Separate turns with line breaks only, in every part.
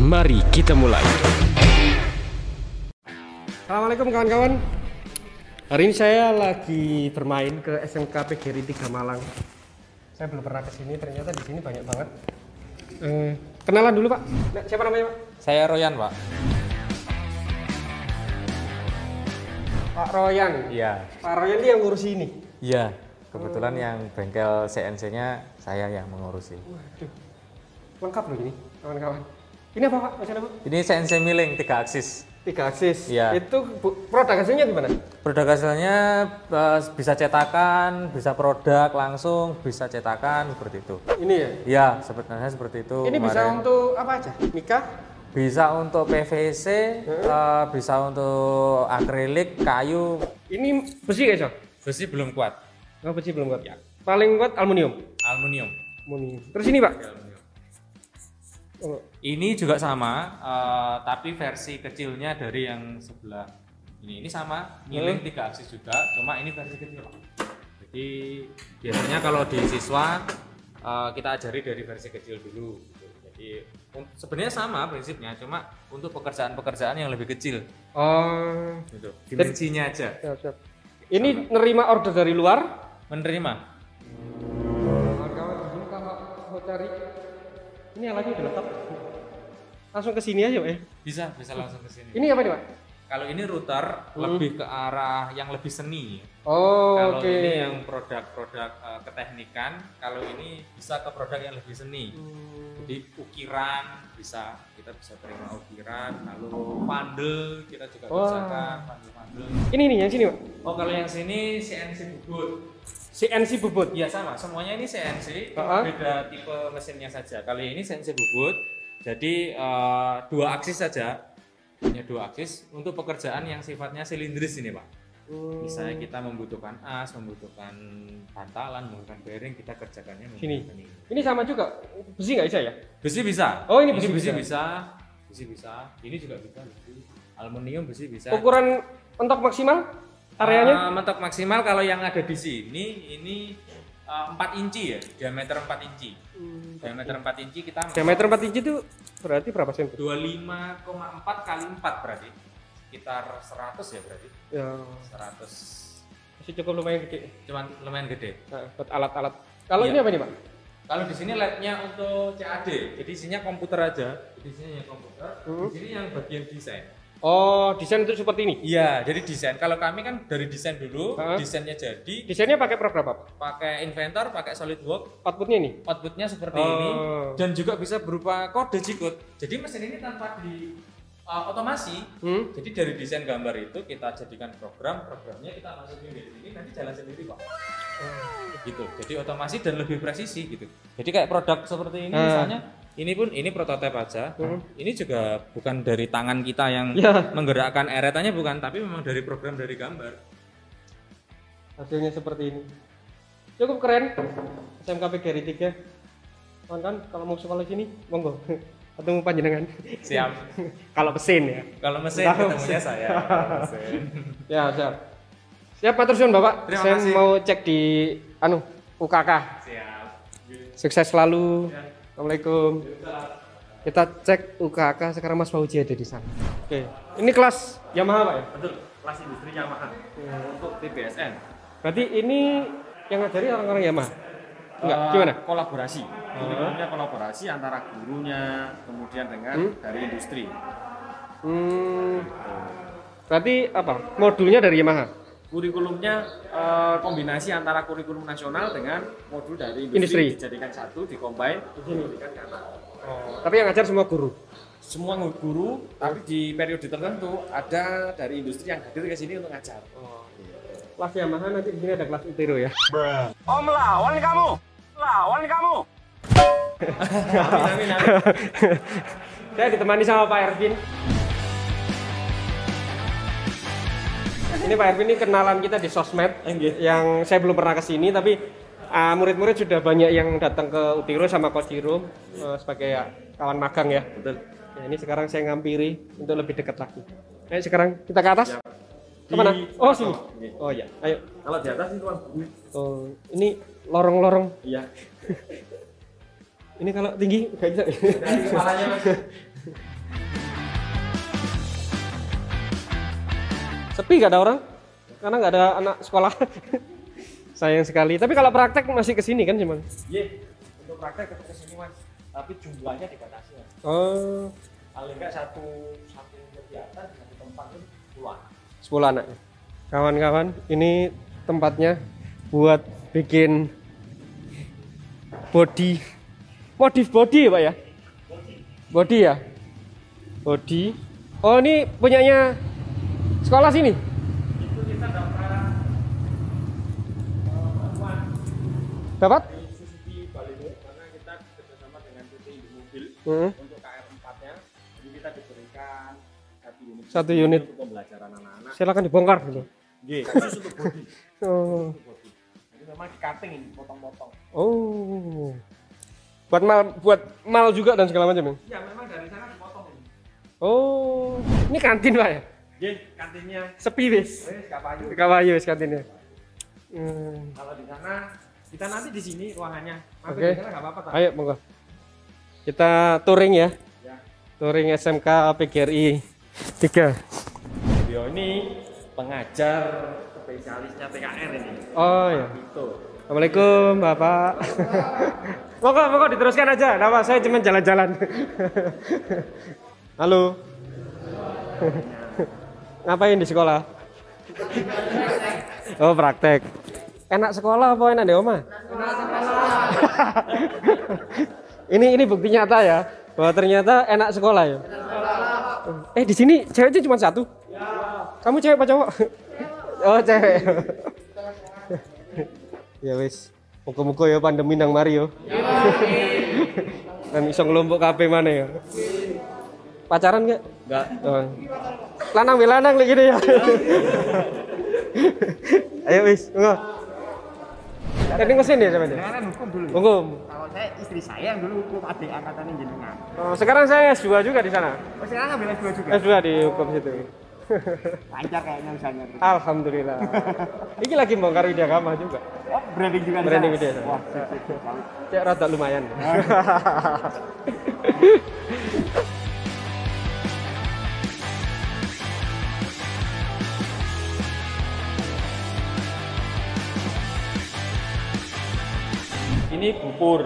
Mari kita mulai.
Assalamualaikum kawan-kawan. Hari ini saya lagi bermain ke SMK PGRI 3 Malang. Saya belum pernah ke sini, ternyata di sini banyak banget. Eh, kenalan dulu, Pak. Nah, siapa namanya, Pak?
Saya Royan, Pak.
Pak Royan.
Iya.
Pak Royan itu yang ngurus ini.
Iya. Kebetulan yang bengkel CNC-nya saya yang mengurusi.
Waduh. Lengkap loh ini, kawan-kawan. Ini apa, Pak? Mesin apa?
Ini CNC milling 3 aksis.
Tiga aksis.
Iya.
Itu bu- produk hasilnya gimana?
Produk hasilnya eh, bisa cetakan, bisa produk langsung, bisa cetakan seperti itu.
Ini ya.
Iya, sebenarnya seperti itu.
Ini bisa
kemarin.
untuk apa aja? Nikah?
bisa untuk PVC, eh, bisa untuk akrilik, kayu.
Ini besi guys, Pak?
Besi belum kuat.
Oh, besi belum kuat.
Ya.
Paling kuat aluminium.
Aluminium.
Aluminium. Terus ini,
Iya,
Pak. Oh,
Ini juga sama, eh, tapi versi kecilnya dari yang sebelah ini. Ini sama, milih tiga aksis juga, cuma ini versi kecil. Pak. Jadi biasanya kalau di siswa eh, kita ajari dari versi kecil dulu. gitu. Jadi un- sebenarnya sama prinsipnya, cuma untuk pekerjaan-pekerjaan yang lebih kecil,
oh.
gitu. Dimensinya aja.
Siap, siap. Ini nerima order dari luar.
Menerima.
Kawan-kawan di sini kalau mau cari ini alatnya udah lengkap. Langsung ke sini aja, Pak. ya.
Bisa, bisa langsung ke sini.
Ini apa nih, Pak?
Kalau ini router lebih ke arah yang lebih seni.
Oh,
Kalau
oke.
ini yang produk-produk eh, keteknikan, kalau ini bisa ke produk yang lebih seni. Jadi ukiran bisa, kita bisa terima ukiran, lalu pandel kita juga
Wah.
kerjakan pandel-pandel.
Ini nih yang sini, Pak.
Oh kalau yang sini CNC bubut.
CNC bubut.
Ya sama, semuanya ini CNC,
Ha-ha.
beda tipe mesinnya saja. Kalau ini CNC bubut, jadi eh, dua aksis saja, hanya dua aksis untuk pekerjaan yang sifatnya silindris ini pak
Hmm.
misalnya kita membutuhkan as, membutuhkan bantalan, membutuhkan bearing, kita kerjakannya
Sini.
menggunakan ini.
Ini sama juga. Besi nggak bisa ya?
Besi bisa.
Oh, ini besi bisa.
besi bisa. Besi bisa. Ini juga bisa. besi. Aluminium besi bisa.
Ukuran mentok maksimal areanya?
Ah, mentok maksimal kalau yang ada di sini ini ah, 4 inci ya, diameter 4 inci. Diameter 4 inci kita
Hmm. Diameter 4 inci itu berarti berapa senti?
25,4 kali 4 berarti sekitar 100 ya berarti.
Ya,
100
masih cukup lumayan gede.
cuman lumayan gede.
Nah, buat alat-alat. Kalau
Iya.
ini apa nih, Pak?
Kalau di sini labnya untuk CAD, jadi isinya komputer aja. Jadi isinya yang ya, komputer.
Hmm.
Di sini yang bagian desain.
Oh, desain itu seperti ini.
Iya, jadi desain. Kalau kami kan dari desain dulu,
Heeh.
desainnya jadi
Desainnya pakai program apa?
pakai inventor, pakai SolidWorks,
Outputnya ini.
outputnya seperti
Oh.
ini dan juga bisa berupa kode G-code. Jadi mesin ini tanpa di uh, otomasi.
Hmm?
Jadi dari desain gambar itu kita jadikan program, programnya kita masukin di sini nanti jalan sendiri kok. gitu. Jadi otomasi dan lebih presisi gitu. Jadi kayak produk seperti ini
Ah. Hmm.
misalnya ini pun ini prototipe aja. Ini juga bukan dari tangan kita yang
Ya.
menggerakkan eretannya bukan, tapi memang dari program dari gambar.
hasilnya seperti ini cukup keren SMKP Geri 3 kawan-kawan kalau mau sekolah sini monggo ketemu panjenengan
Siap.
kalau mesin ya
Kalau mesin
Kalau
ketemunya
mesin.
saya. Kalau mesin.
ya siap siap Pak Tersun Bapak
Terima
saya
kasih.
mau cek di anu UKK
Siap.
sukses selalu Assalamualaikum kita cek UKK sekarang Mas Fauji ada di sana oke ini kelas Yamaha Pak ya
Betul. Kelas industri Yamaha.
Hmm.
Untuk TBSN.
berarti ini yang ngajari orang-orang Yamaha enggak gimana
Eh, kolaborasi kurikulumnya kolaborasi antara gurunya kemudian dengan dari industri
Hmm, berarti apa? Modulnya dari Yamaha,
kurikulumnya eh, kombinasi antara kurikulum nasional dengan modul dari
Industri. Hmm.
industri, dijadikan satu dikombin untuk pendidikan ke anak.
tapi yang ngajar semua guru.
semua guru tapi di periode tertentu ada dari industri yang hadir ke sini untuk ngajar
Oh, iya. Kelas Yamaha nanti di sini ada kelas Utero ya. Om lawan kamu, lawan kamu. Saya ditemani sama Pak Ervin. Ini Pak Ervin ini kenalan kita di sosmed yang saya belum pernah ke sini tapi ah, murid-murid sudah banyak yang datang ke Utiro sama Kociro eh, sebagai ya, kawan magang ya.
betul
Ya, ini sekarang saya ngampiri untuk lebih dekat lagi. Ayo sekarang kita ke atas.
Ya.
Kemana?
Di-
Oh sini.
Ini.
Oh ya. Ayo.
kalau di atas itu ruang guru
Oh, ini lorong-lorong.
iya
Ini kalau tinggi nggak bisa.
kepalanya
Sepi nggak ada orang? Karena nggak ada anak sekolah. Sayang sekali. Tapi kalau praktek masih ke sini kan cuman.
Iya, untuk praktek tetap kesini mas. Tapi jumlahnya dibatasi mas.
Oh,
Paling nggak satu satu kegiatan satu tempat itu puluhan.
10 anak. Kawan-kawan, ini tempatnya buat bikin body modif body ya, Pak ya? Body ya? Body. Oh, ini punyanya sekolah sini.
Itu kita dapat eh, bantuan
Dapat?
dari Suzuki Balindo karena kita kerjasama dengan PT Indomobil
Heeh.
untuk KR 4 nya jadi kita diberikan satu unit
Satu unit.
untuk pembelajaran anak-anak.
Silakan dibongkar dulu.
Iya. Khusus untuk body.
Oh.
Jadi memang di cutting ini potong-potong.
Oh. Buat mal buat mal juga dan segala macam ya.
Iya memang dari sana dipotong ini.
Oh. Ini kantin Pak ya?
Iya, kantinnya.
Sepi wis.
Wes gak payu.
Kawayu wis kantinnya. Hmm.
Kalau di sana kita nanti di sini ruangannya. Mampir
Oke.
di sana nggak apa-apa. Tak?
Ayo monggo. Kita touring ya.
Ya.
Touring SMK PGRI 3.
Beliau ini pengajar spesialisnya TKR ini. Gitu.
Oh ya.
Itu.
Assalamualaikum Bapak. monggo monggo diteruskan aja. Nama saya cuma jalan-jalan. Halo. Ngapain di sekolah? Oh praktek. Enak sekolah apa enak di oma? ini ini bukti nyata ya bahwa ternyata enak sekolah ya. Eh di sini ceweknya cuma satu. Kamu cewek apa cowok? Oh cewek. ya wis. Muka-muka ya pandemi nang mari yo. Dan iso ngelompok kabeh mana ya. Pacaran nggak?
Enggak.
Oh. Lanang be lanang lagi gini ya. Ayo wis, monggo. Tadi mesin ya sampean. ya?
Saya kan hukum dulu.
Hukum.
Kalau saya istri saya yang dulu hukum adik angkatan jenengan.
Oh, sekarang saya S2 juga di sana.
Oh, sekarang ngambil S2 juga.
S2 di hukum situ.
Lancar kayaknya misalnya.
Alhamdulillah. Ini lagi bongkar ide agama juga.
Oh, branding juga di
Branding
sana.
di sana.
Wah, sip, sip, sip. Bagus.
Cek rada lumayan.
Ini bubur.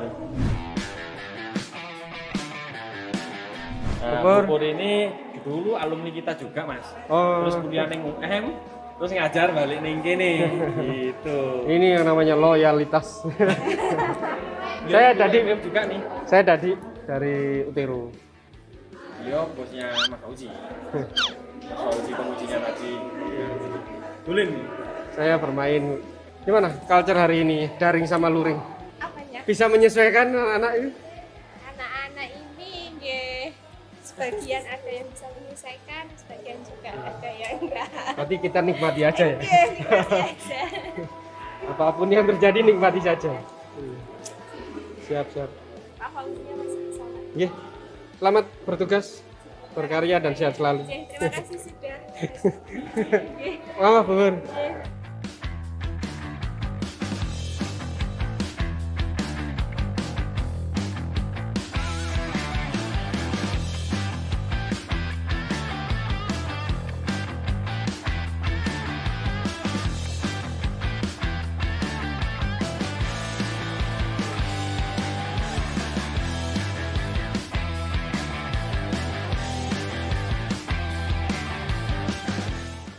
Nah,
Bubur.
bubur. ini dulu alumni kita juga mas.
Oh.
Terus kuliah neng UM, terus ngajar balik neng kene. gitu.
Ini yang namanya loyalitas. Saya tadi-
UM juga nih.
saya tadi dari Uteru.
Beliau bosnya Mas Fauzi. Mas Fauzi pengujinya tadi. Dulin.
Saya bermain gimana culture hari ini daring sama luring
apanya
bisa menyesuaikan anak-anak ini
anak-anak ini nggih sebagian ada yang bisa menyelesaikan sebagian juga ada yang enggak
berarti kita nikmati aja ya
Nggih, nikmati aja.
apapun yang terjadi nikmati saja Hmm. siap siap
Pak Fauzinya masih di sana.
Nggih. selamat bertugas berkarya dan sehat selalu
Nggih, terima kasih sudah Nggih,
Mama bubur
nggih.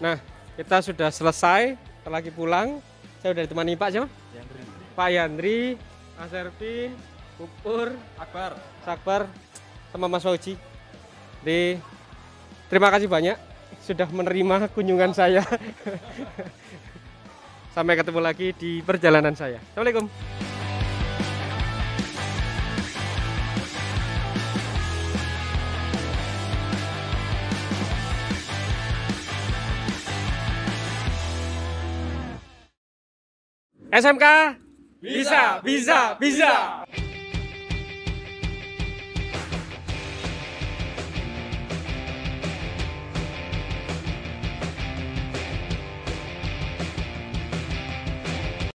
Nah, kita sudah selesai, kita lagi pulang. Saya sudah ditemani Pak siapa? Pak Yandri, Mas Ervin, Pupur,
Akbar.
Sakbar, sama Mas Fauji. Di terima kasih banyak sudah menerima kunjungan saya. Sampai ketemu lagi di perjalanan saya. Assalamualaikum. SMK bisa, bisa, bisa.